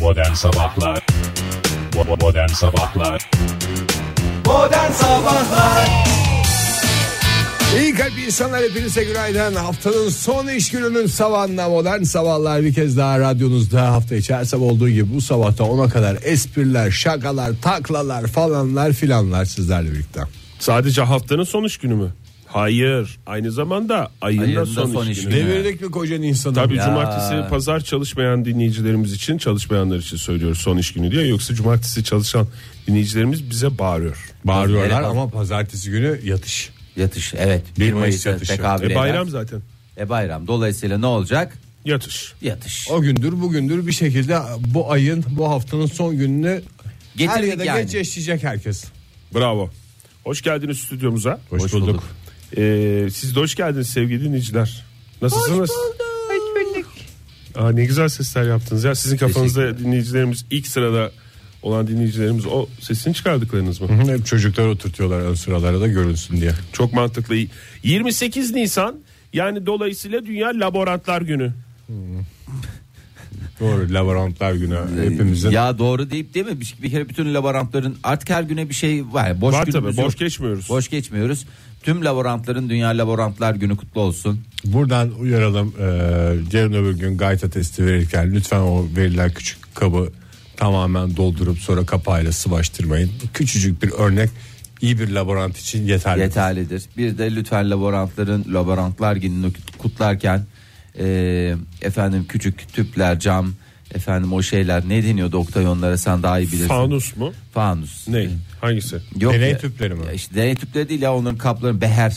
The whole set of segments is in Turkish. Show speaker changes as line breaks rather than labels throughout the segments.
Modern Sabahlar Bo- Modern Sabahlar
Modern Sabahlar
İyi kalp insanlar hepinize günaydın. Haftanın son iş gününün sabahında modern sabahlar bir kez daha radyonuzda hafta içi her sabah olduğu gibi bu sabahta ona kadar espriler, şakalar, taklalar falanlar filanlar sizlerle birlikte.
Sadece haftanın son iş günü mü? Hayır. Aynı zamanda ayın
Ayın
da
da
son,
son
iş,
iş
günü.
günü.
Devirdik mi koca insanı?
Tabii
Ya.
cumartesi pazar çalışmayan dinleyicilerimiz için çalışmayanlar için söylüyoruz son iş günü diye. Yoksa cumartesi çalışan dinleyicilerimiz bize bağırıyor.
Bağırıyorlar
Evet.
ama pazartesi günü yatış.
Yatış evet 1
Mayıs
Mayıs'a
yatışı.
tekabül
E
eder.
bayram zaten.
E bayram dolayısıyla ne olacak?
Yatış.
Yatış.
O gündür bugündür bir şekilde bu ayın bu haftanın son gününü her
Getirdik
ya da
yani.
geç yaşayacak herkes.
Bravo. Hoş geldiniz stüdyomuza.
Hoş,
bulduk.
Ee, siz de hoş geldiniz sevgili dinleyiciler. Nasılsınız? Hoş bulduk. Aa, ne güzel sesler yaptınız ya. Sizin kafanızda dinleyicilerimiz ilk sırada olan dinleyicilerimiz o sesini çıkardıklarınız mı?
Hı, Hep çocuklar oturtuyorlar ön sıralara da görünsün diye.
Çok mantıklı. 28 Nisan yani dolayısıyla Dünya Laborantlar Günü.
Doğru laborantlar günü
Ee,
hepimizin.
Ya doğru deyip değil mi? Bir, bir kere bütün laborantların artık her güne bir şey var. Boş
Var
günümüz
tabii
yok.
boş geçmiyoruz.
Boş geçmiyoruz. Tüm laborantların Dünya Laborantlar Günü kutlu olsun.
Buradan uyaralım eee yarın öbür gün gayta testi verirken lütfen o verilen küçük kabı tamamen doldurup sonra kapağıyla sıvaştırmayın. Küçücük bir örnek iyi bir laborant için yeterli.
Yeterlidir. Bir de lütfen laborantların Laborantlar Günü'nü kut- kutlarken e, efendim küçük tüpler, cam, efendim o şeyler ne deniyordu Oktay onlara sen daha iyi bilirsin.
Fanus mu?
Fanus.
Ne? Hangisi?
Yok
Deney
ya.
tüpleri mi?
Ya işte deney tüpleri değil ya onların kapları beher.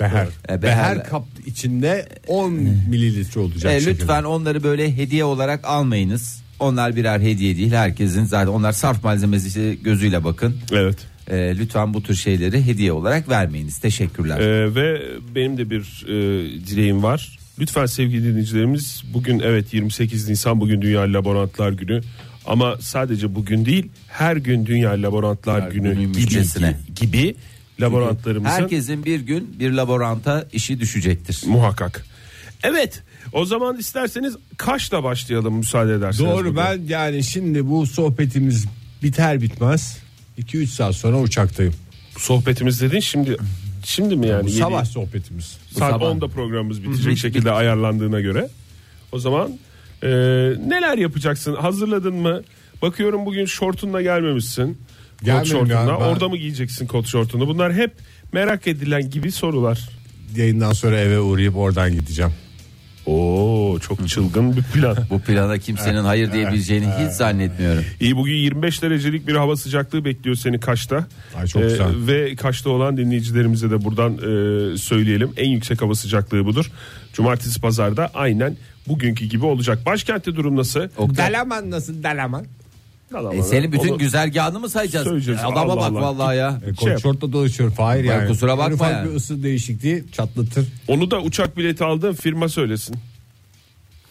Beher.
E, beher-
Beher kap içinde 10 mililitre olacak.
E,
şekilde.
lütfen onları böyle hediye olarak almayınız. Onlar birer hediye değil herkesin zaten onlar sarf malzemesi gözüyle bakın.
Evet.
E, lütfen bu tür şeyleri hediye olarak vermeyiniz. Teşekkürler.
Ee, ve benim de bir e, dileğim var. Lütfen sevgili dinleyicilerimiz bugün evet 28 Nisan bugün Dünya Laborantlar Günü. Ama sadece bugün değil her gün Dünya Laborantlar Günü
günün
gibi,
müjdesine.
gibi laborantlarımızın
Herkesin bir gün bir laboranta işi düşecektir.
muhakkak. Evet o zaman isterseniz Kaş'la başlayalım müsaade ederseniz.
Doğru
bugün.
ben yani şimdi bu sohbetimiz biter bitmez 2-3 saat sonra uçaktayım.
sohbetimiz dedin şimdi şimdi mi yani?
bu
Yedi-
sabah sohbetimiz.
saat
sabah.
10'da programımız bitecek
bit-
şekilde ayarlandığına göre. O zaman e, neler yapacaksın? Hazırladın mı? Bakıyorum bugün şortunla gelmemişsin. Kot
Gelmedim
şortunla.
ya, ben-
Orada mı giyeceksin kot şortunu? Bunlar hep merak edilen gibi sorular.
Yayından sonra eve uğrayıp oradan gideceğim.
Oo çok çılgın bir plan.
Bu plana kimsenin hayır diyebileceğini hiç zannetmiyorum.
İyi bugün 25 derecelik bir hava sıcaklığı bekliyor seni Kaş'ta. E,
Ay, çok güzel.
Ve Kaş'ta olan dinleyicilerimize de buradan e, söyleyelim. En yüksek hava sıcaklığı budur. Cumartesi pazarda aynen bugünkü gibi olacak. Başkentte durum nasıl?
Oktay,
Dalaman nasıl Dalaman?
e, senin bütün
Onu-
güzergahını mı sayacağız?
Söyleyeceğiz.
Adama
Allah
bak
Allah.
vallahi ya.
E,
Şey yap.
Konfortla dolaşıyorum. Hayır
Bak,
yani.
kusura bakma
En ufak
yani.
bir ısı değişikliği çatlatır.
Onu da uçak bileti aldığın firma söylesin. E,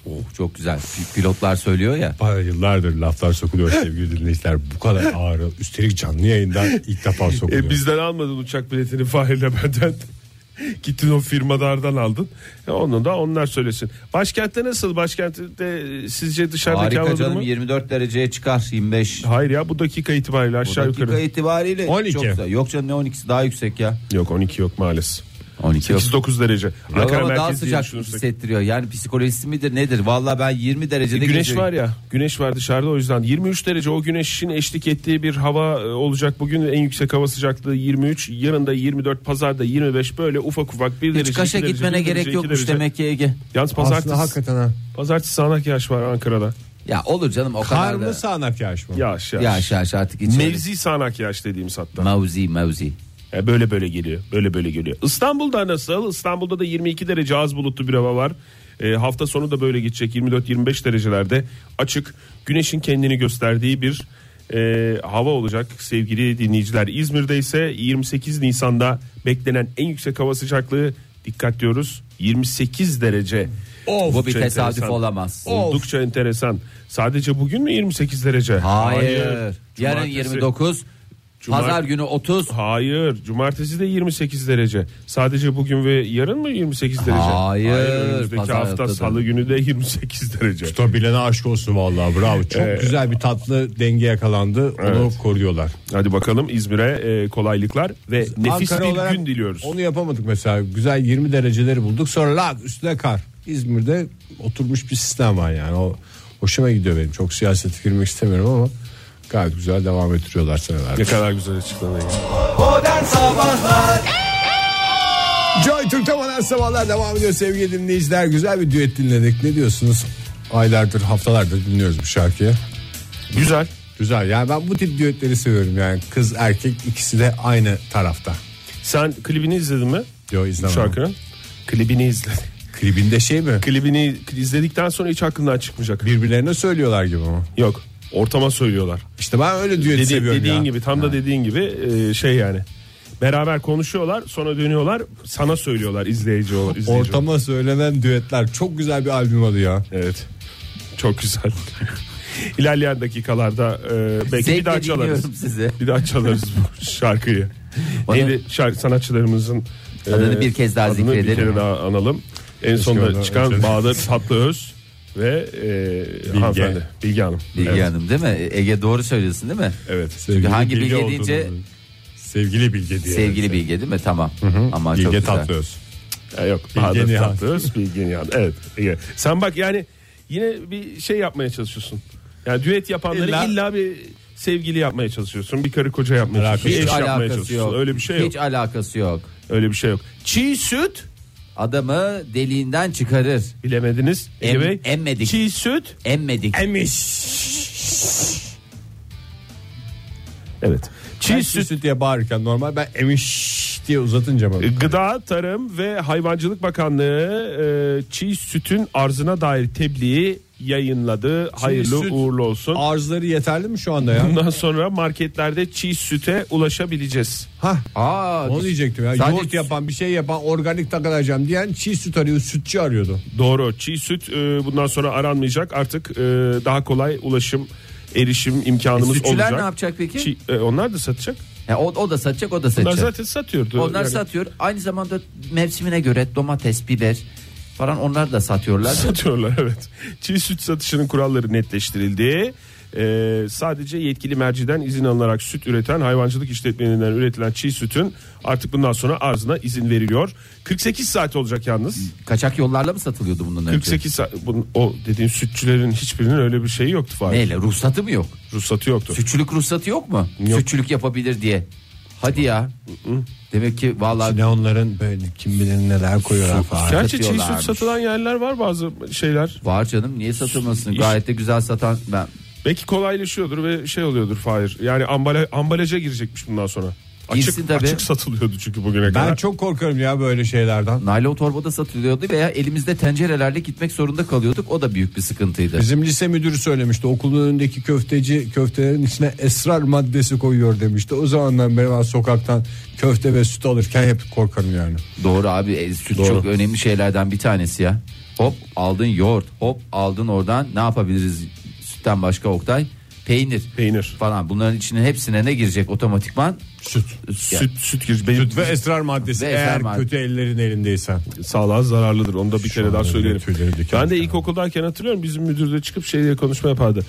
Oh, çok güzel. Pi- Pilotlar söylüyor ya.
Yıllardır laflar sokuluyor sevgili dinleyiciler. Bu kadar ağır. Üstelik canlı yayından ilk defa sokuluyor.
E, bizden almadın uçak biletini Fahir'le benden. Gittin o firmadardan aldın. E, onu da onlar söylesin. Başkentte nasıl? Başkentte e, sizce dışarıdaki hava durumu?
Harika canım 24 dereceye çıkar 25.
Hayır ya bu dakika itibariyle
Bu
aşağı
dakika
yukarı.
itibariyle
12.
çok güzel. Yok canım ne 12'si daha yüksek ya.
Yok 12 yok maalesef.
12 yok.
8-9 derece.
Yok
Ankara
ama daha
merkezi diye
sıcak
düşünürsek.
hissettiriyor. Yani psikolojisi midir nedir? Valla ben 20 derecede
E, Güneş
geziyorum.
var ya güneş var dışarıda o yüzden 23 derece o güneşin eşlik ettiği bir hava e, olacak bugün en yüksek hava sıcaklığı 23 yarın da 24 pazarda 25 böyle ufak ufak bir derece
Hiç kaşa
iki derece,
gitmene
bir derece,
gerek
iki
yokmuş
derece.
demek ki Ege.
Yalnız pazartesi,
Aslında hakikaten ha.
pazartesi sağanak yağış var Ankara'da
Ya olur canım o
Kar
kadar
mı
da.
sağanak yağış mı?
yağış yağış,
Ya aşağı aşağı artık hiç.
mevzi sağanak yağış dediğimiz hatta
Mevzi mevzi.
E, böyle böyle geliyor. Böyle böyle geliyor. İstanbul'da nasıl? İstanbul'da da 22 derece az bulutlu bir hava var. E, hafta sonu da böyle gidecek. 24-25 derecelerde açık. Güneşin kendini gösterdiği bir e, hava olacak sevgili dinleyiciler. İzmir'de ise 28 Nisan'da beklenen en yüksek hava sıcaklığı dikkat diyoruz 28 derece.
Of.
Bu bir
Çok
tesadüf
enteresan.
olamaz.
Oldukça enteresan. Sadece bugün mü 28 derece?
Hayır. Yarın
Cumartesi-
29.
Cumart-
Pazar günü 30.
Hayır. Cumartesi de 28 derece. Sadece bugün ve yarın mı 28 derece?
Hayır,
önümüzdeki
pazar
hafta
haftada.
salı günü de 28 derece.
Usta bilene aşk olsun vallahi bravo. Çok güzel bir tatlı denge yakalandı. Onu
Evet.
koruyorlar.
Hadi bakalım İzmir'e e, kolaylıklar ve nefis
Ankara
bir
olarak
gün diliyoruz.
Onu yapamadık mesela. Güzel 20 dereceleri bulduk. Sonra lag üstüne kar. İzmir'de oturmuş bir sistem var yani. O hoşuma gidiyor benim. Çok siyasete girmek istemiyorum ama gayet güzel devam ettiriyorlar senelerdir.
Ne kadar güzel açıklanıyor.
Joy Türk'te modern sabahlar devam ediyor sevgili dinleyiciler. Güzel bir düet dinledik. Ne diyorsunuz? Aylardır haftalardır dinliyoruz bu şarkıyı.
Güzel.
Güzel yani ben bu tip düetleri seviyorum yani kız erkek ikisi de aynı tarafta.
Sen klibini izledin mi?
Yo izlemem.
Şarkının. Klibini izledim.
Klibinde şey mi?
Klibini izledikten sonra hiç aklından çıkmayacak.
Birbirlerine söylüyorlar gibi ama.
Yok. Ortama söylüyorlar.
İşte ben öyle düet
Dedi-
seviyorum
dediğin
ya.
gibi tam da dediğin gibi e, şey yani. Beraber konuşuyorlar sonra dönüyorlar sana söylüyorlar izleyici olarak. izleyici olarak.
Ortama söylenen düetler çok güzel bir albüm adı ya.
Evet. Çok güzel. İlerleyen dakikalarda e, belki
Zevkle
bir daha çalarız.
dinliyorum sizi.
Bir daha çalarız bu şarkıyı.
Bana-
Neydi şarkı sanatçılarımızın e,
Adını bir kez daha
adını Bir
zikredelim
kere
mi?
daha analım. En sonunda
oradan
çıkan
önce-
Bahadır Tatlıöz ve e, hanımefendi Bilge Hanım.
Bilge
evet.
Hanım değil mi? E, Ege doğru söylüyorsun değil mi?
Evet.
Sevgili
hangi
Bilge
Bilge
olduğunu-
deyince-
Sevgili Bilge diye.
Sevgili Bilge değil mi? Tamam. Ama çok
Bilge
güzel.
Tatlıöz.
E, yok
Bilge
Bahadır
Nihan.
Tatlıöz Bilge Nihan. Evet. Ege. Sen bak yani yine bir şey yapmaya çalışıyorsun. Yani düet
E,
yapanları illa,
İlla-
bir sevgili yapmaya çalışıyorsun. Bir karı koca yapmaya
Merak
çalışıyorsun.
Hiç
Eş yapmaya
alakası
çalışıyorsun.
yok.
Öyle bir şey yok.
Hiç alakası yok.
Öyle bir şey yok. Çiğ süt
Adamı deliğinden çıkarır.
bilemediniz.
Em-
Ege Bey.
emmedik.
Çiğ süt.
Emmedik.
E, Evet. Çiğ
Ben
süt
süt diye bağırırken normal ben emiş diye uzatınca bana.
Gıda, Tarım ve Hayvancılık Bakanlığı e, çiğ sütün arzına dair tebliği yayınladı. Hayırlı
süt-
uğurlu olsun.
Arzları yeterli mi şu anda ya?
Bundan sonra marketlerde çiğ süte ulaşabileceğiz.
Hah.
Aa,
Onu diyecektim ya.
Sadece-
Yoğurt yapan bir şey yapan organik takılacağım diyen çiğ süt arıyor sütçü arıyordu.
Doğru. Çiğ süt e, bundan sonra aranmayacak. Artık e, daha kolay ulaşım erişim imkanımız
E, sütçüler
olacak.
ne yapacak peki?
Çiğ- e, onlar da satacak.
Ya o, o da satacak o da
Onlar
satacak.
zaten satıyordu.
Onlar
Yani
satıyor. Aynı zamanda mevsimine göre domates, biber falan onlar da satıyorlar.
satıyorlar evet. Çiğ süt satışının kuralları netleştirildi. Ee, sadece yetkili merciden izin alınarak süt üreten hayvancılık işletmelerinden üretilen çiğ sütün artık bundan sonra arzına izin veriliyor. 48 saat olacak yalnız.
Kaçak yollarla mı satılıyordu bundan önce?
48 saat bunun- o dediğin sütçülerin hiçbirinin öyle bir şeyi yoktu Fahir.
Neyle? Ruhsatı mı yok?
Ruhsatı yoktu.
Sütçülük ruhsatı yok mu?
Yok.
Sütçülük yapabilir diye. Hadi ya. Demek ki vallahi
Ne onların böyle kim bilir neler koyuyorlar falan.
Gerçi çiğ süt
satıyorlarmış.
satılan yerler var bazı şeyler.
var canım niye satılmasın?
İş-
Gayet de güzel satan ben
Belki kolaylaşıyordur ve şey oluyordur Fahir. Yani ambala, ambalaja girecekmiş bundan sonra.
Girsin
Açık,
tabii.
açık satılıyordu çünkü bugüne kadar.
Ben çok korkarım ya böyle şeylerden.
naylon torbada satılıyordu veya elimizde tencerelerle gitmek zorunda kalıyorduk. O da büyük bir sıkıntıydı.
Bizim lise müdürü söylemişti okulun önündeki köfteci köftelerin içine esrar maddesi koyuyor demişti. O zamandan beri ben sokaktan köfte ve süt alırken hep korkarım yani.
Doğru abi e, süt çok önemli şeylerden bir tanesi ya. Hop aldın yoğurt hop aldın oradan ne yapabiliriz sütten başka Oktay? Peynir.
Peynir.
Falan bunların içine hepsine ne girecek otomatikman?
Süt.
Yani
Süt süt gir. Benim
Süt ve esrar maddesi
Ve esrar
eğer
madde-
kötü ellerin elindeysen.
sağlığa zararlıdır. Onu da bir kere daha
anda
söyleyelim.
bile tüyleri diken
Ben de
diken.
ilkokuldayken hatırlıyorum bizim müdür de çıkıp şey diye konuşma yapardı.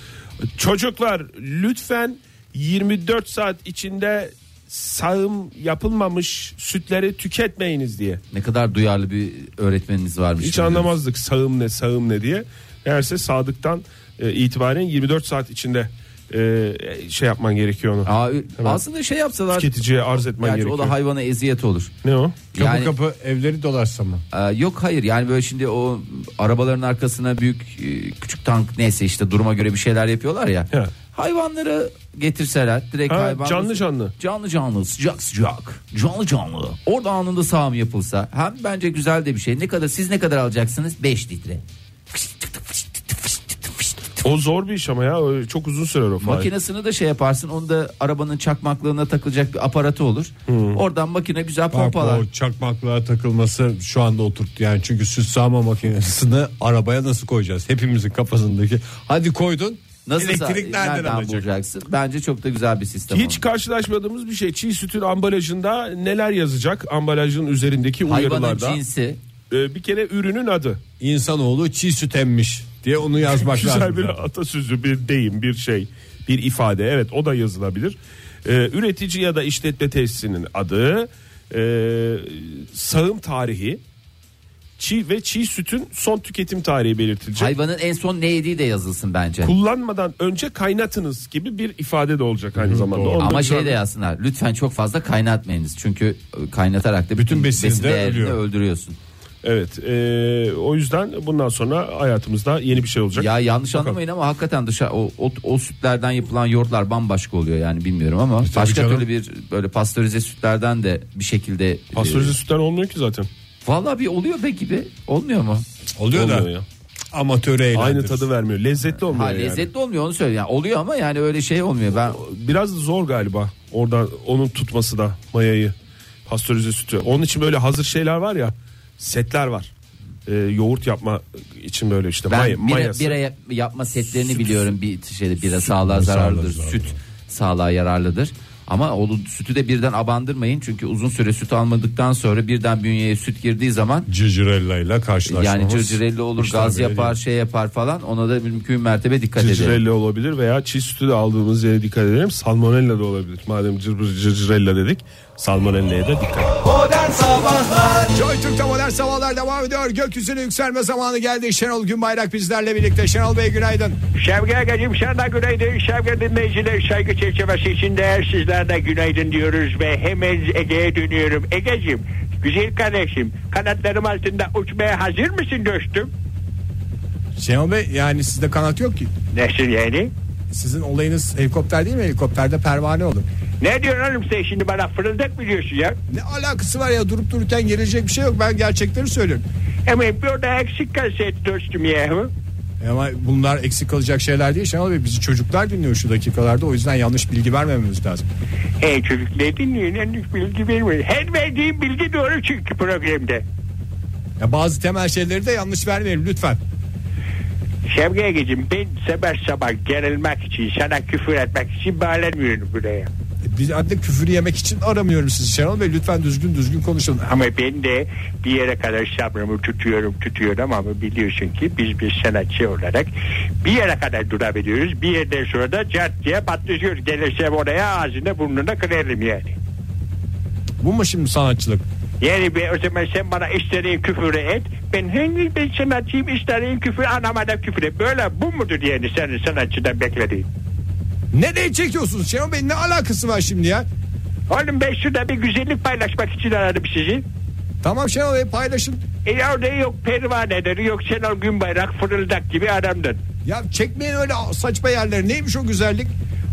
Çocuklar lütfen 24 saat içinde sağım yapılmamış sütleri tüketmeyiniz diye.
ne kadar duyarlı bir öğretmeniniz varmış.
Hiç
bilmiyorum.
anlamazdık sağım ne sağım ne diye. Eğerse sadıktan e, itibaren 24 saat içinde e, şey yapman gerekiyor onu.
Aa,
Hemen
aslında şey yapsalar
Tüketiciye arz etmen
Gerçi o
gerekiyor.
da hayvana eziyet olur.
Ne o?
Kapı
yani
kapı evleri dolaşsa mı?
e, yok hayır yani böyle şimdi o arabaların arkasına büyük e, küçük tank neyse işte duruma göre bir şeyler yapıyorlar ya.
He.
Hayvanları getirseler direkt
Ha,
hayvan
canlı canlı.
canlı canlı sıcak sıcak canlı canlı orada anında sağım yapılsa hem bence güzel de bir şey ne kadar siz ne kadar alacaksınız 5 litre
O zor bir iş ama ya. O Çok uzun sürer o. Fahir.
makinesini de şey yaparsın onu da arabanın çakmaklığına takılacak bir aparatı olur
Hmm.
oradan makine güzel
Bak,
pompalar
o çakmaklığa takılması şu anda oturttu yani çünkü süt sağma makinesini arabaya nasıl koyacağız hepimizin kafasındaki hadi koydun
Nasıl
Elektrik nereden alacak?
bulacaksın? Bence çok da güzel bir sistem.
Hiç
olmuş.
karşılaşmadığımız bir şey. Çiğ sütün ambalajında neler yazacak? Ambalajın üzerindeki
hayvanın
uyarılarda.
cinsi
Ee, bir kere ürünün adı.
İnsanoğlu çiğ süt emmiş diye onu yazmak
Güzel
lazım.
bir atasözü, bir deyim, bir şey, bir ifade. Evet o da yazılabilir. Ee, üretici ya da işletme tesisinin adı, e, sağım tarihi, çiğ ve çiğ sütün son tüketim tarihi belirtilecek.
hayvanın en son ne yediği de yazılsın bence.
Kullanmadan önce kaynatınız gibi bir ifade de olacak aynı zamanda. Onu da
Ama
güzel-
şey de yazsınlar. Lütfen çok fazla kaynatmayınız. Çünkü e, kaynatarak da bütün,
besini
besin,
de
değerini
ölüyor.
öldürüyorsun.
Evet. e, o yüzden bundan sonra hayatımızda yeni bir şey olacak.
Ya yanlış anlamayın ama hakikaten dışarı o, o, o sütlerden yapılan yoğurtlar bambaşka oluyor yani bilmiyorum ama başka
canım.
türlü bir böyle pastörize sütlerden de bir şekilde e,
Pastörize sütten olmuyor ki zaten.
Vallahi bir oluyor be gibi. Olmuyor mu?
Oluyor da
Olmuyor ya.
amatöre
Aynı
eğlendir.
tadı vermiyor. Lezzetli olmuyor
Ha,
yani.
lezzetli olmuyor onu söylüyorum. Yani oluyor ama yani öyle şey olmuyor. Ben
Biraz zor galiba oradan onun tutması da mayayı. Pastörize sütü. Onun için böyle hazır şeyler var ya. Setler var. E, yoğurt yapma için böyle işte
ben
may-
bira,
mayası.
bira yap- yapma setlerini biliyorum. Bir şeyde bira sağlığa zararlıdır.
zararlı.
Süt sağlığa yararlıdır. Ama onu sütü de birden abandırmayın. Çünkü uzun süre süt almadıktan sonra birden bünyeye süt girdiği zaman
Cicirella ile karşılaşmamız.
yani cırcırelli olur,
hoşlar
gaz
bile
yapar, şey yapar falan. Ona da mümkün mertebe dikkat edelim.
Cırcırella olabilir veya çiğ sütü de aldığımız yere dikkat edelim. Salmonella da olabilir. Madem cırbır cırcırella dedik. Salmonella'ya da dikkat.
Joy Türk'te modern sabahlar devam ediyor. Gökyüzüne yükselme zamanı geldi. Şenol Günbayrak bizlerle birlikte. Şenol Bey günaydın.
Şevge Agacım sana da günaydın. Şevge dinleyiciler saygı çerçevesi içinde sizler de günaydın diyoruz ve hemen Ege'ye dönüyorum. Egeciğim, güzel kardeşim, kanatlarım altında uçmaya hazır mısın dostum?
Şenol Bey yani sizde kanat yok ki.
Nasıl yani?
Sizin olayınız helikopter değil mi? Helikopterde pervane olur.
Ne diyorsun oğlum sen şimdi bana fırıldak mı diyorsun ya?
Ne alakası var ya durup dururken gelecek bir şey yok. Ben gerçekleri söylüyorum.
Ama burada eksik kalsaydı dostum yahu.
E Ama bunlar eksik kalacak şeyler değil Şenol Bey. Bizi çocuklar dinliyor şu dakikalarda. O yüzden yanlış bilgi vermememiz lazım.
Hey çocuklar dinleyin henüz bilgi vermiyor. Her verdiğim bilgi doğru çünkü programda.
Ya bazı temel şeyleri de yanlış vermeyelim lütfen.
Şevge Egeciğim ben sabah sabah gerilmek için sana küfür etmek için bağlanmıyorum buraya.
E, Biz artık küfür yemek için aramıyorum sizi Şenol Bey. Lütfen düzgün düzgün konuşun.
Ama ben de bir yere kadar sabrımı tutuyorum tutuyorum ama biliyorsun ki biz bir sanatçı olarak bir yere kadar durabiliyoruz. Bir yerden sonra da cart diye patlıyoruz. Gelirsem oraya ağzını burnunu kırarım yani.
Bu mu şimdi sanatçılık?
Yani be, o zaman sen bana istediğin küfürü et. Ben hangi ben sanatçıyım istediğin küfür anama da küfür et. Böyle bu mudur yani senin sanatçıdan beklediğin?
Nereye çekiyorsunuz Şenol Bey? Ne alakası var şimdi ya?
Oğlum ben şurada bir güzellik paylaşmak için aradım sizi.
Tamam Şenol Bey paylaşın.
E ya ne yok pervaneleri yok Şenol Günbayrak fırıldak gibi adamdın.
Ya çekmeyin öyle saçma yerleri. Neymiş o güzellik?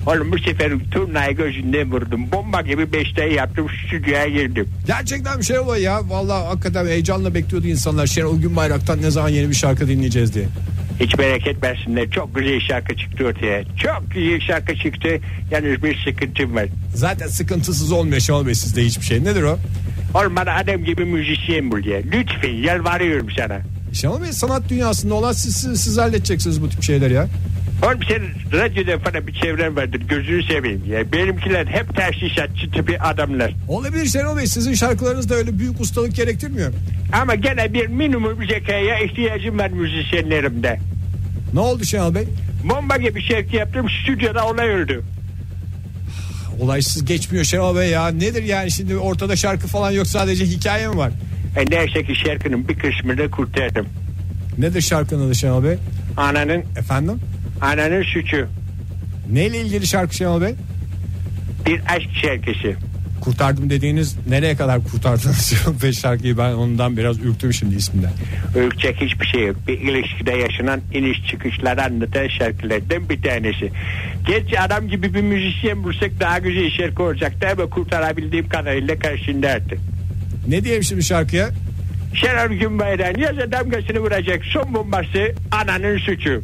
Oğlum bu sefer turnayı gözünden vurdum. Bomba gibi beşteyi yaptım stüdyoya girdim.
Gerçekten bir şey oluyor ya. Vallahi hakikaten heyecanla bekliyordu insanlar. Şenol Günbayrak'tan ne zaman yeni bir şarkı dinleyeceğiz diye.
Hiç merak etmesinler çok güzel şarkı çıktı ortaya. Çok güzel şarkı çıktı. Yalnız bir sıkıntım var.
Zaten sıkıntısız olmuyor Şenol Bey sizde hiçbir şey. Nedir o?
Oğlum bana adam gibi müzisyen bul ya. Lütfen yalvarıyorum sana.
Şenol Bey sanat dünyasında olan siz, siz, siz halledeceksiniz bu tip şeyleri ya.
Oğlum senin radyoda falan bir çevren vardır gözünü seveyim ya. Benimkiler hep tersisatçı tipi adamlar.
Olabilir Şenol Bey sizin şarkılarınız da öyle büyük ustalık gerektirmiyor.
Ama gene bir minimum zekaya ihtiyacım var müzisyenlerimde.
Ne oldu Şenol Bey?
Bomba gibi şarkı yaptım stüdyoda olay öldü.
Olaysız geçmiyor Şenol Bey ya. Nedir yani şimdi ortada şarkı falan yok sadece hikaye mi var?
E neyse ki şarkının bir kısmını kurtardım.
Nedir şarkının adı Şenol Bey?
Ananın
Efendim?
ananın suçu
Neyle ilgili şarkı Şenol Bey?
bir aşk şarkısı.
Kurtardım dediğiniz nereye kadar kurtardınız Şenol Bey şarkıyı ben ondan biraz ürktüm şimdi isminden.
Ölçek hiçbir şey yok. Bir ilişkide yaşanan iniş çıkışları anlatan şarkılardan bir tanesi. Geç adam gibi bir müzisyen bulsak daha güzel şarkı olacaktı ama kurtarabildiğim kadarıyla karşında artık.
Ne diyeyim şimdi şarkıya?
Şenol Günbayrak'ın yaza damgasını vuracak son bombası ananın suçu.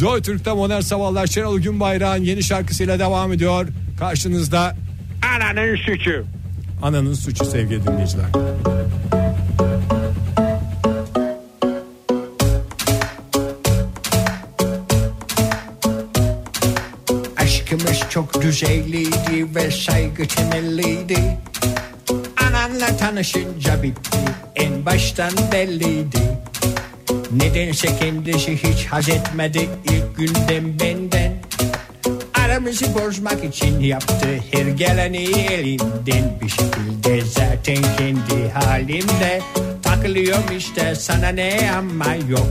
Joy Türk'te modern sabahlar Şenol Günbayrak'ın yeni şarkısıyla devam ediyor. Karşınızda
Ananın suçu.
Ananın Suçu sevgili dinleyiciler.
Hayatımız çok düzeyliydi ve saygı temelliydi Ananla tanışınca bitti en baştan belliydi Nedense kendisi hiç haz etmedi ilk günden benden Aramızı bozmak için yaptı her geleni elinden Bir şekilde zaten kendi halimde Takılıyorum işte sana ne ama yok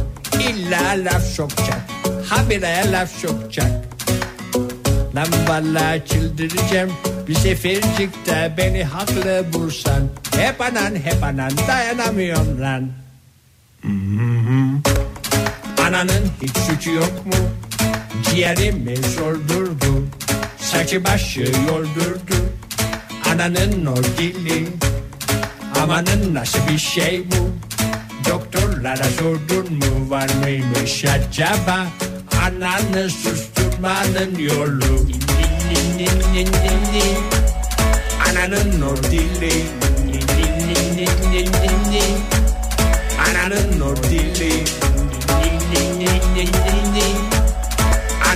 İlla laf sokacak habire laf sokacak Lan valla çıldıracağım Bir sefercikte beni haklı bulsan Hep anan hep anan dayanamıyorum lan Ananın hiç suçu yok mu? Ciğerimi soldurdu Saçı başı yoldurdu Ananın o dili Amanın nasıl bir şey bu? Doktorlara sordun mu var mıymış acaba? Ananı susturmanın yolu Ananın o dili Ananın o dili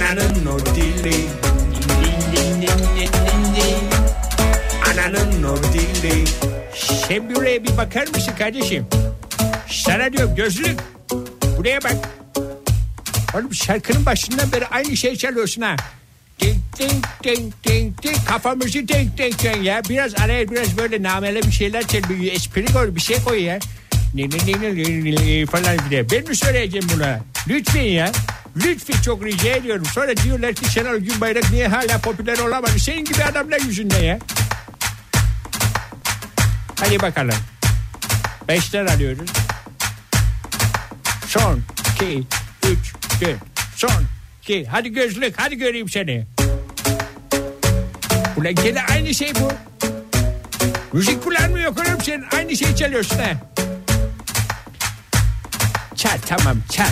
Ananın o dili Ananın o dili Sen buraya bir bakar mısın kardeşim? Sana diyorum gözlük Buraya bak Oğlum şarkının başından beri aynı şey çalıyorsun ha. Ding ding ding ding ding kafamızı ding ding ding ya. Biraz araya biraz böyle namele bir şeyler çal. Bir espri koy bir şey koy ya. Ne ne ne ne ne ne falan bir de. Ben mi söyleyeceğim buna? Lütfen ya. Lütfen çok rica ediyorum. Sonra diyorlar ki Şenol Günbayrak niye hala popüler olamadı? Senin gibi adamlar yüzünden ya. Hadi bakalım. Beşler alıyoruz. Son 2 3 4 Son 2 Hadi gözlük hadi göreyim seni Ulan gene aynı şey bu Müzik kullanmıyor oğlum sen aynı şeyi çalıyorsun ha Çal tamam çal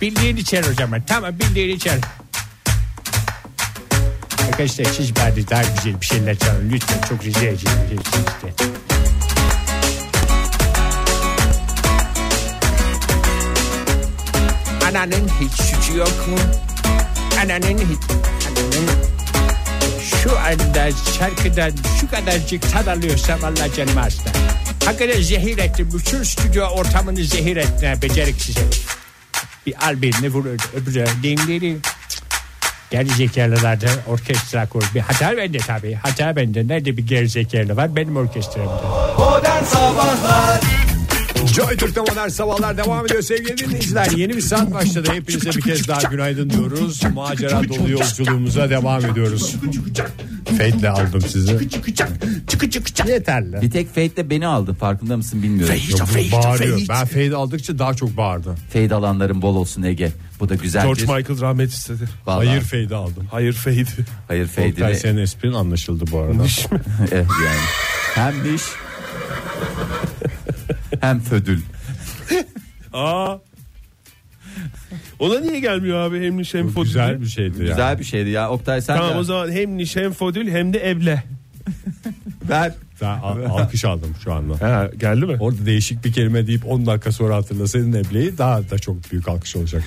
Bildiğini çal o zaman tamam bildiğini çal Arkadaşlar siz bari daha güzel bir şeyler çalın lütfen çok rica edeceğim sizden. Ananın hiç suçu yok mu? Ananın hiç... Ananın... Şu anda şarkıdan şu kadarcık tad alıyorsa valla canım hasta. Hakikaten zehir ettim. Bütün stüdyo ortamını zehir ettin ha, beceriksiz herif. Bir al birini vur ö- öbürü dinleri. Gerizekalılarda orkestra kur. Bir hata bende tabii. Hata bende. Nerede bir gerizekalı var? Benim orkestramda.
Joy Türk'te modern sabahlar devam ediyor sevgili dinleyiciler. Yeni bir saat başladı. Hepinize bir kez daha günaydın diyoruz. Macera dolu yolculuğumuza devam ediyoruz. Fate'le aldım sizi. Yeterli.
Bir tek Fate'de beni aldı farkında mısın bilmiyorum.
Yok, bu bağırıyor. Ben fade aldıkça daha çok bağırdı.
Fade alanların bol olsun Ege. Bu da güzel
George
bir...
Michael rahmet istedi.
Vallahi-
Hayır fade aldım.
Hayır Fade.
Hayır Fade'i
Oktay
de-
senin esprin anlaşıldı bu arada.
Eh, yani. Hem iş hem födül.
Aa. Ona niye gelmiyor abi hem niş hem fodül?
Güzel bir şeydi ya.
Güzel bir şeydi ya. Oktay sen
Tamam
de
o zaman hem niş hem fodül hem de eble.
ver.
Ben al- alkış aldım şu anda.
Ha, geldi mi?
Orada değişik bir kelime deyip 10 dakika sonra hatırlasaydın Eble'yi daha da çok büyük alkış olacak.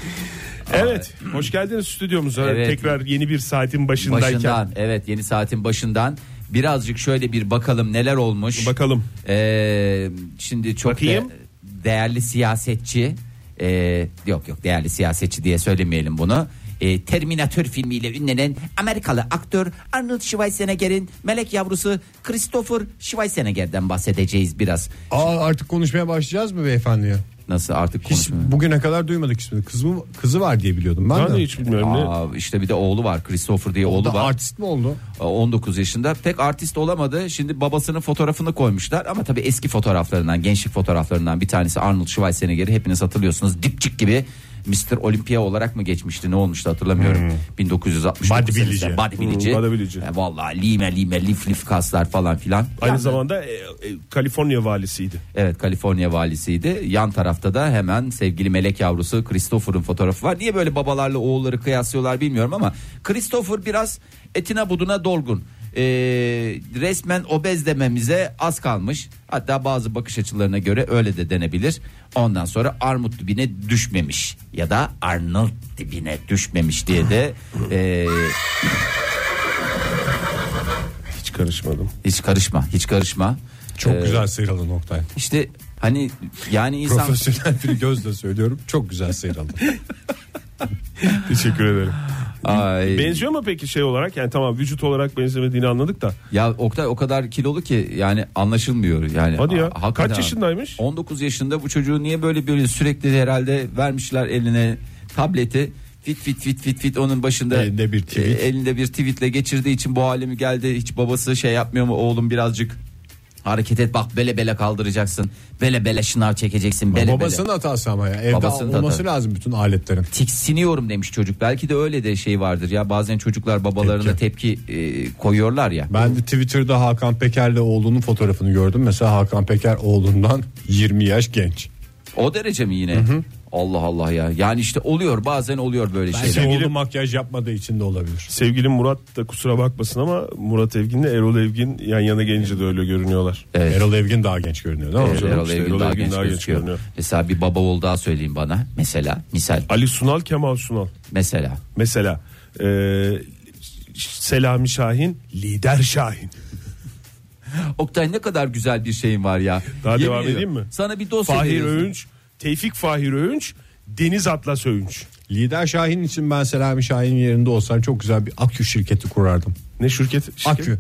Evet. Hoş geldiniz stüdyomuza.
Evet.
Tekrar yeni bir saatin başındayken.
Başından evet yeni saatin başından birazcık şöyle bir bakalım neler olmuş.
Bakalım.
Ee, şimdi çok de-
Bakayım.
değerli siyasetçi ee, yok yok değerli siyasetçi diye söylemeyelim bunu. Ee, Terminator filmiyle ünlenen Amerikalı aktör Arnold Schwarzenegger'in melek yavrusu Christopher Schwarzenegger'den bahsedeceğiz biraz.
Aa artık konuşmaya başlayacağız mı beyefendiye?
Nasıl artık
Hiç
konuşmuyor?
bugüne kadar duymadık ismini. Kızı, mı- kızı var diye biliyordum ben,
Ben
de.
de hiç bilmiyorum. ne-
Aa, işte bir de oğlu var Christopher diye
O
oğlu
da
var.
artist mi oldu?
Aa, 19 yaşında pek artist olamadı. Şimdi babasının fotoğrafını koymuşlar ama tabii eski fotoğraflarından, gençlik fotoğraflarından bir tanesi Arnold Schwarzenegger'i hepiniz hatırlıyorsunuz. Dipçik gibi Mr. Olympia olarak mı geçmişti ne olmuştu hatırlamıyorum. 1969
Bodybuilci.
senesinde. Bodybuilci.
Hmm, bodybuilci.
E, vallahi lime lime lif lif kaslar falan filan.
Aynı zamanda e, e, Kaliforniya valisiydi.
Evet Kaliforniya valisiydi. Yan tarafta da hemen sevgili melek yavrusu Christopher'ın fotoğrafı var. Niye böyle babalarla oğulları kıyaslıyorlar bilmiyorum ama Christopher biraz etine buduna dolgun. Ee, resmen obez dememize az kalmış. Hatta bazı bakış açılarına göre öyle de denebilir. Ondan sonra armut dibine düşmemiş e, ya da Arnold dibine düşmemiş diye de ee,
karışmadım.
Hiç karışma, hiç karışma.
Çok
Ee,
güzel sıyrıldı Oktay.
İşte hani yani insan
Profesyonel bir gözle söylüyorum. Çok güzel sıyrıldı.
Teşekkür ederim.
Ay.
Benziyor mu peki şey olarak? Yani tamam vücut olarak benzemediğini anladık da.
Ya Oktay o kadar kilolu ki yani anlaşılmıyor yani.
Hadi ya.
Ha- hakikaten.
Kaç yaşındaymış?
19 yaşında bu çocuğu niye böyle böyle sürekli herhalde vermişler eline tableti fit fit fit fit fit onun başında
Elinde bir tweet.
e, elinde bir tweetle geçirdiği için bu hale mi geldi hiç babası şey yapmıyor mu oğlum birazcık hareket et bak bele bele kaldıracaksın bele bele şınav çekeceksin bele
Babasının
bele
hatası ama ya. Evde
Babasının
olması
hatası.
lazım bütün aletlerin.
tiksiniyorum demiş çocuk belki de öyle de şey vardır ya bazen çocuklar babalarına tepki, e, koyuyorlar ya
Ben de Twitter'da Hakan Peker'le oğlunun fotoğrafını gördüm. Mesela Hakan Peker oğlundan 20 yaş genç.
o derece mi yine Allah Allah ya yani işte oluyor bazen oluyor böyle şeyler
şey
Ee,
Belki oğlu makyaj yapmadığı için de olabilir.
Sevgilim Murat da kusura bakmasın ama Murat Evgin'le Erol Evgin yan yana gelince de öyle görünüyorlar.
Evet.
Erol Evgin daha genç görünüyor değil mi?
Evet,
canım,
Erol
işte
Evgin
Erol
daha
Evgin
genç
daha genç
gözüküyor.
görünüyor.
Mesela bir baba oğul daha söyleyin bana. Mesela misal
Ali Sunal, Kemal Sunal.
mesela.
Mesela eee, Selami Şahin, Lider Şahin.
Oktay ne kadar güzel bir şeyin var ya.
Daha
Yemin
devam
ediyorum.
edeyim mi?
Sana bir dosya
Fahir
veriyorsun.
Öğünç, Tevfik Fahir Öğünç, Deniz Atlas Öğünç.
Lider Şahin için ben Selami Şahin'in yerinde olsam çok güzel bir akü şirketi kurardım.
Ne şirket? şirket?
Akü.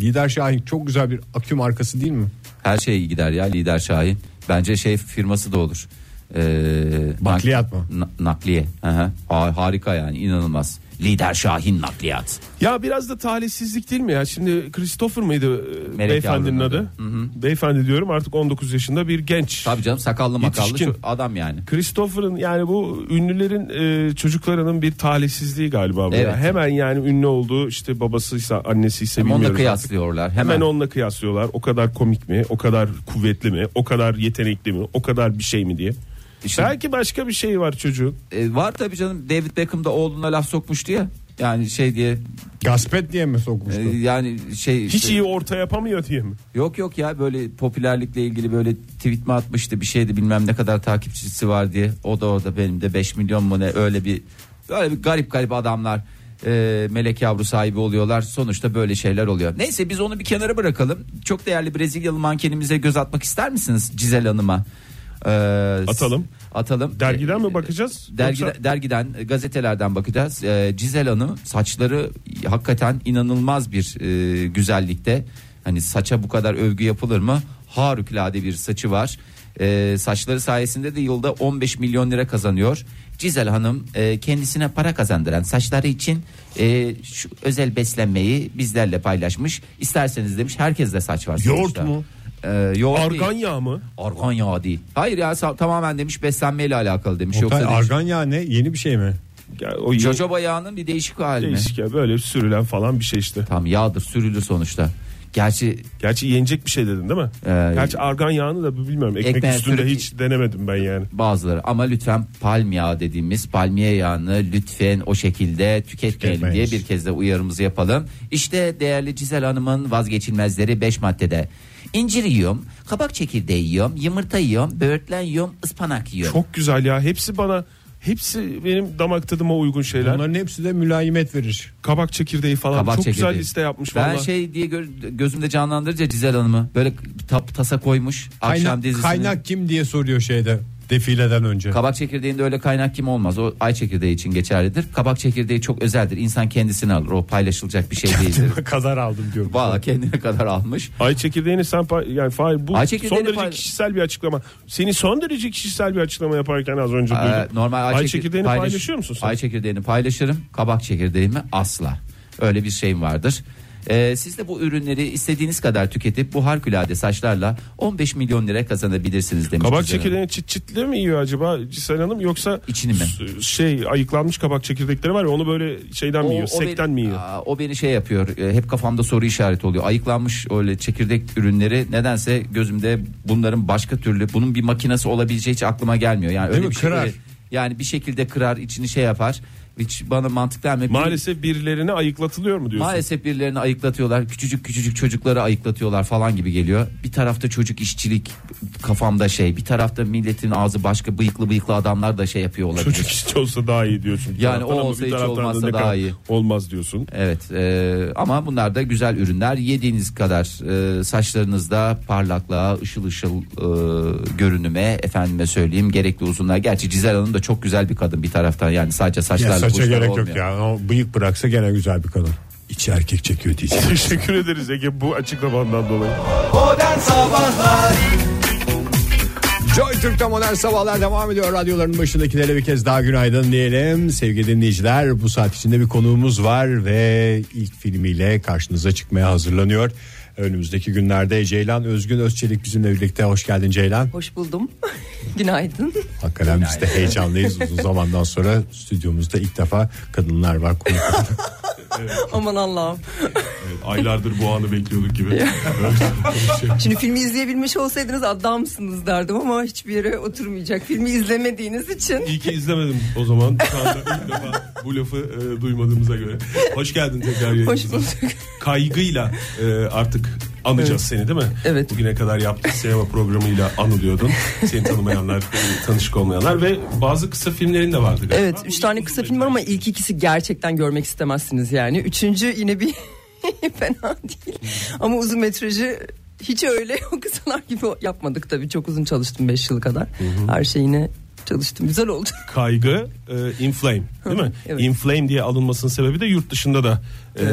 Lider Şahin çok güzel bir akü markası değil mi?
Her şey iyi gider ya lider Şahin. Bence şey firması da olur. Ee,
Nakliyat mı?
na- nakliye. Hı hı. Ha- harika yani inanılmaz. Lider Şahin nakliyat.
Ya biraz da talihsizlik değil mi ya? Şimdi Christopher mıydı e,
Melek
beyefendinin
yavrunun
adı? Beyefendi diyorum artık 19 yaşında bir genç.
Tabii canım sakallı makallı
Yetişkin.
şu adam yani.
Christopher'ın yani bu ünlülerin e, çocuklarının bir talihsizliği galiba bu. ya.
Evet.
Hemen yani ünlü olduğu işte babasıysa annesiyse
Hem onunla
bilmiyoruz.
kıyaslıyorlar. Hemen,
Hemen. onunla kıyaslıyorlar. O kadar komik mi? O kadar kuvvetli mi? O kadar yetenekli mi? O kadar bir şey mi diye.
İşte-
Belki başka bir şey var çocuğun.
E, var tabii canım David Beckham da oğluna laf sokmuştu ya. Yani şey diye
Gaspet diye mi
e,
sokmuştu?
yani şey
Hiç iyi orta yapamıyor diye mi?
Yok yok ya böyle popülerlikle ilgili böyle tweet mi atmıştı bir şeydi bilmem ne kadar takipçisi var diye. O da orada benim de 5 milyon mu ne öyle bir böyle bir garip garip adamlar e, melek yavru sahibi oluyorlar. Sonuçta böyle şeyler oluyor. Neyse biz onu bir kenara bırakalım. Çok değerli Brezilyalı mankenimize göz atmak ister misiniz Cizel Hanım'a? Ee,
Atalım.
Atalım.
Dergiden
Ee,
mi bakacağız?
Dergide,
Yoksa-
dergiden e, gazetelerden bakacağız. Ee, Cizel Hanım saçları hakikaten inanılmaz bir e, güzellikte. Hani saça bu kadar övgü yapılır mı? Harikulade bir saçı var. Ee, saçları sayesinde de yılda 15 milyon lira kazanıyor. Cizel Hanım e, kendisine para kazandıran saçları için e, şu özel beslenmeyi bizlerle paylaşmış. İsterseniz demiş herkeste saç var.
Yoğurt
sonuçta.
mu?
Ee, yoğurt
Argan
değil.
yağı mı?
Argan yağı değil. Hayır ya sa- tamamen demiş beslenmeyle alakalı demiş.
Oktay,
Yoksa demiş,
argan yağı ne? Yeni bir şey mi?
Ya o yoğurt
Jojoba yağının bir değişik hali mi?
değişik ya böyle sürülen falan bir şey işte.
Tam yağdır sürülür sonuçta. Gerçi
Gerçi yenecek bir şey dedin değil mi?
Ee,
Gerçi argan yağını da bilmiyorum. Ekmek
ekmeğe
üstünde
sürüp-
hiç denemedim ben yani.
bazıları ama lütfen palm yağı dediğimiz palmiye yağını lütfen o şekilde tüketmeyelim diye
Tüketmeyiz.
bir kez de uyarımızı yapalım. İşte değerli Cizel Hanım'ın vazgeçilmezleri 5 maddede. İncir yiyorum, kabak çekirdeği yiyorum, yumurta yiyorum, böğürtlen yiyorum, ıspanak yiyorum.
Çok güzel ya. Hepsi bana hepsi benim damak tadıma uygun şeyler.
Bunların hepsi de mülayimet verir.
Kabak çekirdeği falan
Kabak
çok
çekirdeği.
güzel liste yapmış
Ben
valla.
şey diye gö- gözümde canlandırınca Cizel Hanım'ı böyle tap tasa koymuş. akşam
Kaynak,
dizisinin.
kaynak kim diye soruyor şeyde defileden önce.
Kabak çekirdeğinde öyle kaynak kim olmaz. O ay çekirdeği için geçerlidir. Kabak çekirdeği çok özeldir. İnsan kendisini alır. O paylaşılacak bir şey değildir.
kadar aldım diyor.
Valla kendine kadar almış.
Ay çekirdeğini sen pa- yani Fahir bu
Ay
son
çekirdeğini
derece
pay-
kişisel bir açıklama. Seni son derece kişisel bir açıklama yaparken az önce duydum.
Ee, normal ay, çekir-
çekirdeğini
paylaş-
paylaşıyor musun sen?
Ay çekirdeğini paylaşırım. Kabak çekirdeğimi asla. Öyle bir şeyim vardır. Ee, siz de bu ürünleri istediğiniz kadar tüketip bu harikulade saçlarla 15 milyon lira kazanabilirsiniz demiş.
kabak
Güzel Hanım.
çekirdeğini çit çitli mi yiyor acaba Cisel Hanım yoksa
İçini mi?
s- şey ayıklanmış kabak çekirdekleri var ya onu böyle şeyden mi yiyor?
beni-
Sekten mi yiyor?
Aa, o beni şey yapıyor. e, hep kafamda soru işareti oluyor. Ayıklanmış öyle çekirdek ürünleri nedense gözümde bunların başka türlü bunun bir makinesi olabileceği hiç aklıma gelmiyor. Yani
Değil
öyle
mi?
bir şey-
Kırar.
evet. yani bir şekilde kırar, içini şey yapar. Hiç bana mantıklı gelmiyor.
Maalesef birilerine ayıklatılıyor mu diyorsun?
Maalesef birilerini ayıklatıyorlar. Küçücük küçücük çocukları ayıklatıyorlar falan gibi geliyor. Bir tarafta çocuk işçilik kafamda şey. Bir tarafta milletin ağzı başka bıyıklı bıyıklı adamlar da şey yapıyor olabilir.
Çocuk hiç olsa daha iyi diyorsun. Bir
Yani
taraftan
o
ama
olsa
bir
hiç
taraftan da
olmazsa
ne
daha
kadar
iyi.
Olmaz diyorsun.
Evet e, ama bunlar da güzel ürünler. Yediğiniz kadar e, saçlarınızda parlaklığa, ışıl ışıl e, görünüme, efendime söyleyeyim gerekli uzunluğa. Gerçi Cizel Hanım da çok güzel bir kadın bir taraftan yani sadece saçlarla
Ya saça
bu işler
gerek
olmuyor.
yok ya. O bıyık bıraksa gene güzel bir kadın. İçi erkek çekiyor diyeceğim.
Teşekkür ederiz Ege bu açıklamandan dolayı.
Joy Türk'te modern sabahlar devam ediyor. Radyoların başındakilere bir kez daha günaydın diyelim. Sevgili dinleyiciler bu saat içinde bir konuğumuz var ve ilk filmiyle karşınıza çıkmaya hazırlanıyor. Önümüzdeki günlerde Ceylan Özgün Özçelik bizimle birlikte. Hoş geldin Ceylan.
Hoş buldum. Günaydın.
Hakikaten biz de heyecanlıyız uzun zamandan sonra stüdyomuzda ilk defa kadınlar var. konuk var.
Aman Allah'ım.
Aylardır bu anı bekliyorduk gibi.
Şimdi filmi izleyebilmiş olsaydınız adamsınız derdim ama hiçbir yere oturmayacak. Filmi izlemediğiniz için.
İyi ki izlemedim o zaman. Şu anda ilk defa bu lafı e, duymadığımıza göre. Hoş geldin tekrar
Hoş
yayınımıza.
bulduk.
Kaygıyla e, artık anacağız seni değil mi?
Evet.
Bugüne kadar yaptığın sinema programıyla anılıyordun. Seni tanımayanlar, e, tanışık olmayanlar ve bazı kısa filmlerin de vardı galiba.
Evet, üç tane kısa film var ama ilk ikisi gerçekten görmek istemezsiniz yani. Üçüncü yine bir fena değil. Ama uzun metrajı hiç öyle o kısalar gibi yapmadık tabii. Çok uzun çalıştım 5 yıl kadar. Her şeyine çalıştım. Güzel oldu.
kaygı e, inflame değil mi?
Evet.
Inflame diye alınmasının sebebi de yurt dışında da e,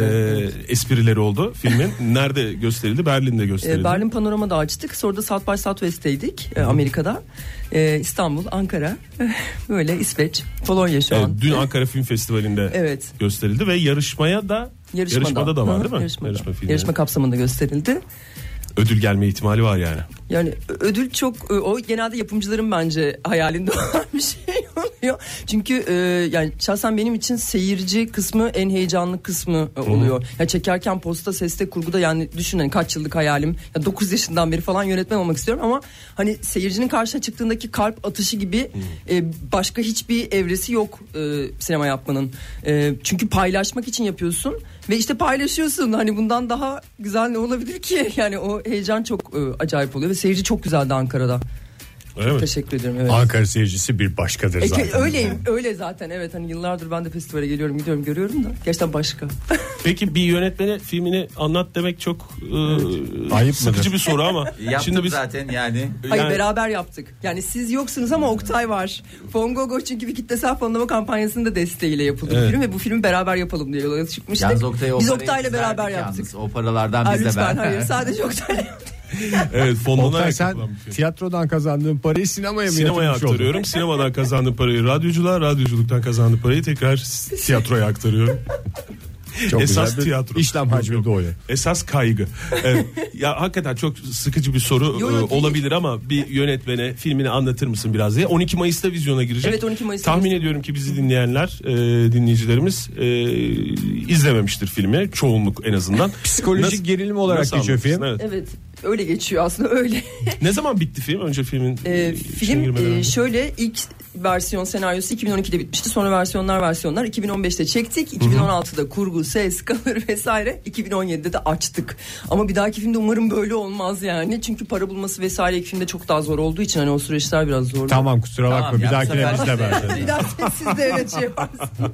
esprileri oldu filmin. Nerede gösterildi? Berlin'de gösterildi.
Ee, Berlin Panorama'da açtık. Sonra da South by Southwest'teydik e, Amerika'da. Ee, İstanbul, Ankara, böyle İsveç, Polonya şu
Evet,
an.
dün Ankara Film Festivali'nde
Evet.
gösterildi ve yarışmaya da yarışmada, da var
Hı hı,
değil mi?
Yarışmada.
Yarışma filmi.
Yarışma kapsamında gösterildi.
Ödül gelme ihtimali var yani.
Yani ö- ödül çok ö, o genelde yapımcıların bence hayalinde olan bir şey oluyor. Çünkü e, yani şahsen benim için seyirci kısmı en heyecanlı kısmı e, oluyor. Ya çekerken posta, seste, kurguda yani düşünün kaç yıllık hayalim. Ya 9 yaşından beri falan yönetmen olmak istiyorum ama hani seyircinin karşına çıktığındaki kalp atışı gibi e, başka hiçbir evresi yok e, sinema yapmanın. E, çünkü paylaşmak için yapıyorsun ve işte paylaşıyorsun. Hani bundan daha güzel ne olabilir ki? Yani o heyecan çok e, acayip oluyor ve seyirci çok güzeldi Ankara'da.
Öyle mi?
Teşekkür ediyorum. Evet.
Ankara seyircisi bir başkadır
E,
zaten.
ke- öyleyim öyle zaten evet hani yıllardır ben de festivale geliyorum gidiyorum görüyorum da gerçekten başka.
Peki bir yönetmene filmini anlat demek çok e,
Ayıp
sıkıcı
mıdır?
bir soru ama
Yaptım
şimdi biz
zaten yani.
Hayır
Yani-
beraber yaptık. Yani siz yoksunuz ama Oktay var. Fongogo çünkü bir kitlesel fonlama kampanyasının da desteğiyle yapıldı
Evet.
bu film ve bu filmi beraber yapalım diye yola çıkmıştık.
Yalnız Oktay'a o
Biz
parayı
Oktay'la
biz
beraber
verdik
yaptık.
yalnız. O paralardan
Aa,
biz de
lütfen
verdik.
hayır sadece Oktay'la
evet
Oktay
fonlanarak
sen
yapılan bir şey.
tiyatrodan kazandığın parayı sinemaya mı
Sinemaya
yatırmış oldun?
aktarıyorum. Sinemadan kazandığım parayı radyoculuğa, radyoculuktan kazandığım parayı tekrar tiyatroya aktarıyorum.
Çok
Esas
güzel bir
tiyatro.
İşlem hacmi de o ya.
Esas kaygı. Evet. ya hakikaten çok sıkıcı bir soru
Yo,
e,
yo, değil.
olabilir ama bir yönetmene filmini anlatır mısın biraz diye. 12 Mayıs'ta vizyona girecek.
Evet, 12 Mayıs'ta
Tahmin
vizyona.
ediyorum ki bizi dinleyenler, e, dinleyicilerimiz e, izlememiştir filmi çoğunluk en azından.
Psikolojik gerilim olarak geçiyor
anlatırsın?
film.
Evet.
Evet öyle geçiyor aslında öyle.
Ne zaman bitti film? Önce filmin
Ee,
e, içine
film
girmeden
e,
önce.
şöyle ilk versiyon senaryosu 2012'de bitmişti. Sonra versiyonlar versiyonlar 2015'te çektik. 2016'da kurgu, ses, kalır vesaire. 2017'de de açtık. Ama bir dahaki filmde umarım böyle olmaz yani. Çünkü para bulması vesaire ilk filmde çok daha zor olduğu için hani o süreçler biraz zor.
Tamam kusura bakma
Tamam ya,
bir
bu
dahakine
sefer-
izle bence.
Bir daha siz de öyle şey yaparsınız.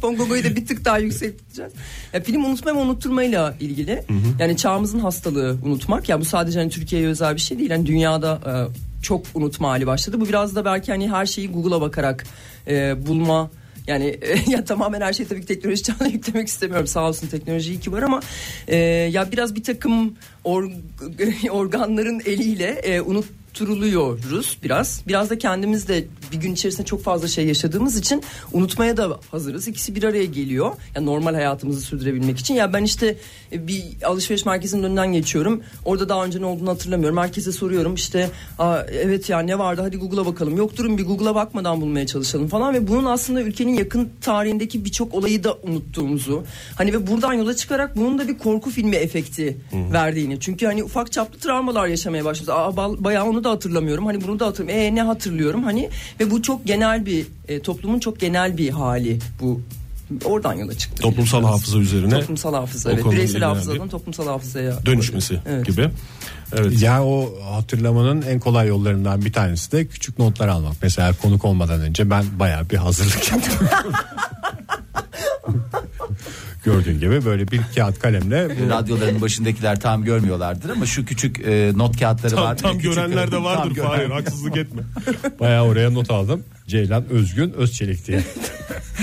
Fongogo'yu da bir tık daha yüksek tutacağız. Ya, film unutma ve unutturmayla ilgili. Yani çağımızın hastalığı unutmak. Ya bu sadece hani Türkiye'ye özel bir şey değil. Yani dünyada e, çok unutma hali başladı. Bu biraz da belki hani her şeyi Google'a bakarak e, bulma yani e, ya tamamen her şeyi tabii ki teknoloji çağına yüklemek istemiyorum. Sağ olsun teknoloji iyi ki var ama e, ya biraz bir takım org- organların eliyle e, unut turuluyoruz biraz. Biraz da kendimiz de bir gün içerisinde çok fazla şey yaşadığımız için unutmaya da hazırız. İkisi bir araya geliyor. Ya normal hayatımızı sürdürebilmek için. Ya ben işte e, bir alışveriş merkezinin önünden geçiyorum. Orada daha önce ne olduğunu hatırlamıyorum. Herkese soruyorum işte Aa, evet ya ne vardı hadi Google'a bakalım. Yok durun bir Google'a bakmadan bulmaya çalışalım falan ve bunun aslında ülkenin yakın tarihindeki birçok olayı da unuttuğumuzu. Hani ve buradan yola çıkarak bunun da bir korku filmi efekti verdiğini. Çünkü hani ufak çaplı travmalar yaşamaya başlıyoruz. Aa, bal- bayağı unutmuşum onu da hatırlamıyorum. Hani bunu da hatırlamıyorum. E ne hatırlıyorum hani ve bu çok genel bir e, toplumun çok genel bir hali bu. Oradan yola çıktı.
Toplumsal
biraz.
hafıza üzerine
Toplumsal hafıza.
o
Evet.
konuyla
Bireysel
ilgili
hafızadan toplumsal hafızaya.
dönüşmesi
Evet.
gibi. Evet.
Ya o hatırlamanın en kolay yollarından bir tanesi de küçük notlar almak. Mesela konuk olmadan önce ben bayağı bir hazırlık yaptım. Gördüğün gibi böyle bir kağıt kalemle bu
Radyoların başındakiler tam görmüyorlardır ama şu küçük e, not kağıtları
Tam,
var.
tam
Küçük-
görenler de
Tam
vardır
gören-
Fahir haksızlık etme.
bayağı oraya not aldım. Ceylan Özgün Özçelik diye.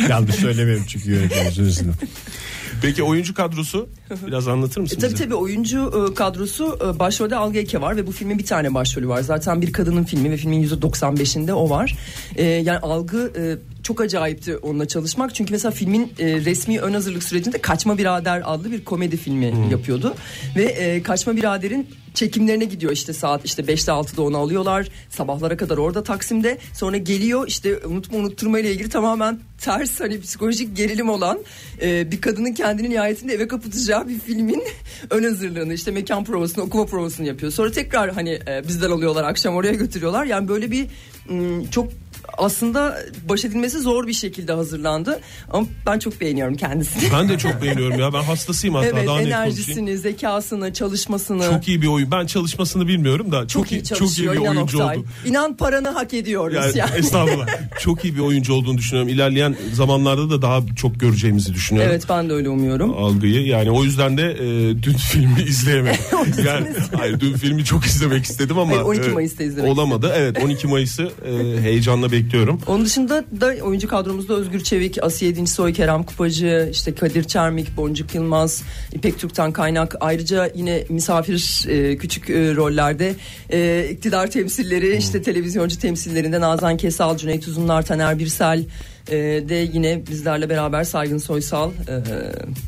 Yanlış söylemeyeyim çünkü yönetmenimizin izni.
Peki oyuncu kadrosu biraz anlatır mısın?
E, Tabii
bize?
tabii oyuncu e, kadrosu e, başrolde Alga Eke var ve bu filmin bir tane başrolü var. Zaten bir kadının filmi ve filmin %95'inde o var. E, yani algı e, çok acayipti onunla çalışmak. Çünkü mesela filmin e, resmi ön hazırlık sürecinde Kaçma Birader adlı bir komedi filmi yapıyordu. Ve e, Kaçma Birader'in çekimlerine gidiyor işte saat işte 5'te 6'da onu alıyorlar. Sabahlara kadar orada Taksim'de. Sonra geliyor işte unutma unutturma ile ilgili tamamen ters hani psikolojik gerilim olan e, bir kadının kendini nihayetinde eve kapatacağı bir filmin ön hazırlığını işte mekan provasını okuma provasını yapıyor. Sonra tekrar hani e, bizden alıyorlar akşam oraya götürüyorlar. Yani böyle bir m, çok aslında baş edilmesi zor bir şekilde hazırlandı. Ama ben çok beğeniyorum kendisini.
Ben de çok beğeniyorum ya ben hastasıyım hatta
evet
daha net konuşayım.
enerjisini, zekasını, çalışmasını.
Çok iyi bir oyun. Ben çalışmasını bilmiyorum da çok,
çok
iyi, çok iyi
çalışıyor
bir
inan
oyuncu
Oktay.
oldu.
İnan paranı hak ediyoruz
Yani,
yani.
Estağfurullah. Çok iyi bir oyuncu olduğunu düşünüyorum. İlerleyen zamanlarda da daha çok göreceğimizi düşünüyorum.
Evet ben de öyle umuyorum.
algıyı. Yani o yüzden de e, dün filmi izleyemedim. yani hayır dün filmi çok izlemek istedim ama
Hayır, 12
e,
Mayıs'ta izlemek
olamadı. Evet 12 Mayıs'ı e, heyecanla bekliyorum.
Onun dışında da oyuncu kadromuzda Özgür Çevik, Asiye Dinçsoy, Kerem Kupacı, işte Kadir Çermik, Boncuk Yılmaz, İpek Türk'ten kaynak. Ayrıca yine misafir e, küçük e, rollerde e, iktidar temsilleri, işte televizyoncu temsillerinde Nazan Kesal, Cüneyt Uzunlar, Taner Birsel e, de yine bizlerle beraber Saygın Soysal. e,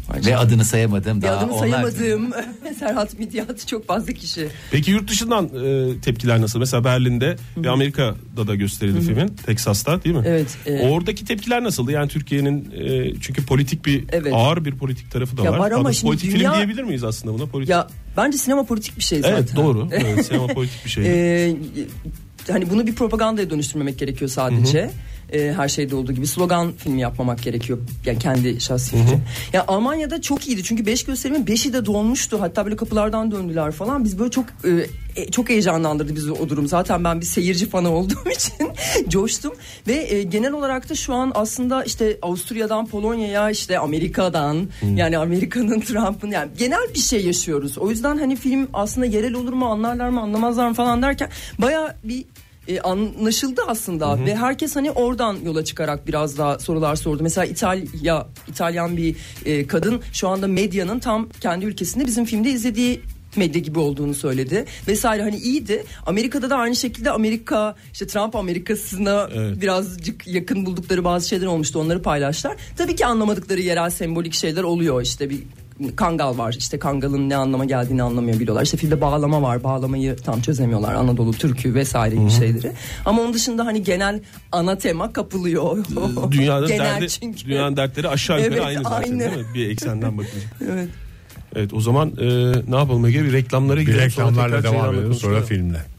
ayrıca-
Ve adını sayamadım
Bir
daha.
adını
onlar-
sayamadığım Serhat Midyat çok fazla kişi.
Peki yurt dışından e, tepkiler nasıl? Mesela Berlin'de ve Amerika'da da gösterildi filmin. Texas'ta değil mi?
Evet, e, evet.
Oradaki tepkiler nasıldı? Yani Türkiye'nin e, çünkü politik bir
Evet.
ağır bir politik tarafı da
Ya
var.
var ama
Hatta
şimdi
politik
dünya-
film diyebilir miyiz aslında buna? Politik...
Ya bence sinema politik bir şey zaten.
evet doğru. Evet, sinema politik bir şey.
Ee, hani bunu bir propagandaya dönüştürmemek gerekiyor sadece. Ee, her şeyde olduğu gibi slogan filmi yapmamak gerekiyor. Yani kendi şahsi fikrim. Ya Almanya'da çok iyiydi çünkü 5 gösterimin 5'i de dolmuştu. Hatta böyle kapılardan döndüler falan. Biz böyle çok e, e, çok heyecanlandırdı bizi o durum. Zaten ben bir seyirci fanı olduğum için coştum ve e, genel olarak da şu an aslında işte Avusturya'dan Polonya'ya işte Amerika'dan yani Amerika'nın Trump'ın yani genel bir şey yaşıyoruz. O yüzden hani film aslında yerel olur mu anlarlar mı anlamazlar mı falan derken baya bir e, anlaşıldı aslında ve herkes hani oradan yola çıkarak biraz daha sorular sordu. Mesela İtalya İtalyan bir e, kadın şu anda medyanın tam kendi ülkesinde bizim filmde izlediği medya gibi olduğunu söyledi vesaire hani iyiydi. Amerika'da da aynı şekilde Amerika işte Trump Amerikasına birazcık yakın buldukları bazı şeyler olmuştu onları paylaştılar. Tabii ki anlamadıkları yerel sembolik şeyler oluyor işte bir kangal var işte kangalın ne anlama geldiğini anlamıyor biliyorlar. İşte filmde bağlama var bağlamayı tam çözemiyorlar Anadolu türkü vesaire gibi şeyleri. Ama onun dışında hani genel ana tema kapılıyor.
dünyanın
genel
derdi,
çünkü.
dünyanın dertleri aşağı yukarı
Evet,
aynı zaten
aynı.
değil mi? Bir eksenden bakınca.
Evet.
Evet o zaman e, ne yapalım Ege bir reklamlara
Bir
gidelim. sonra
reklamlarla
tekrar
devam
Ceylan'la
edelim sonra
konuşalım.
filmle.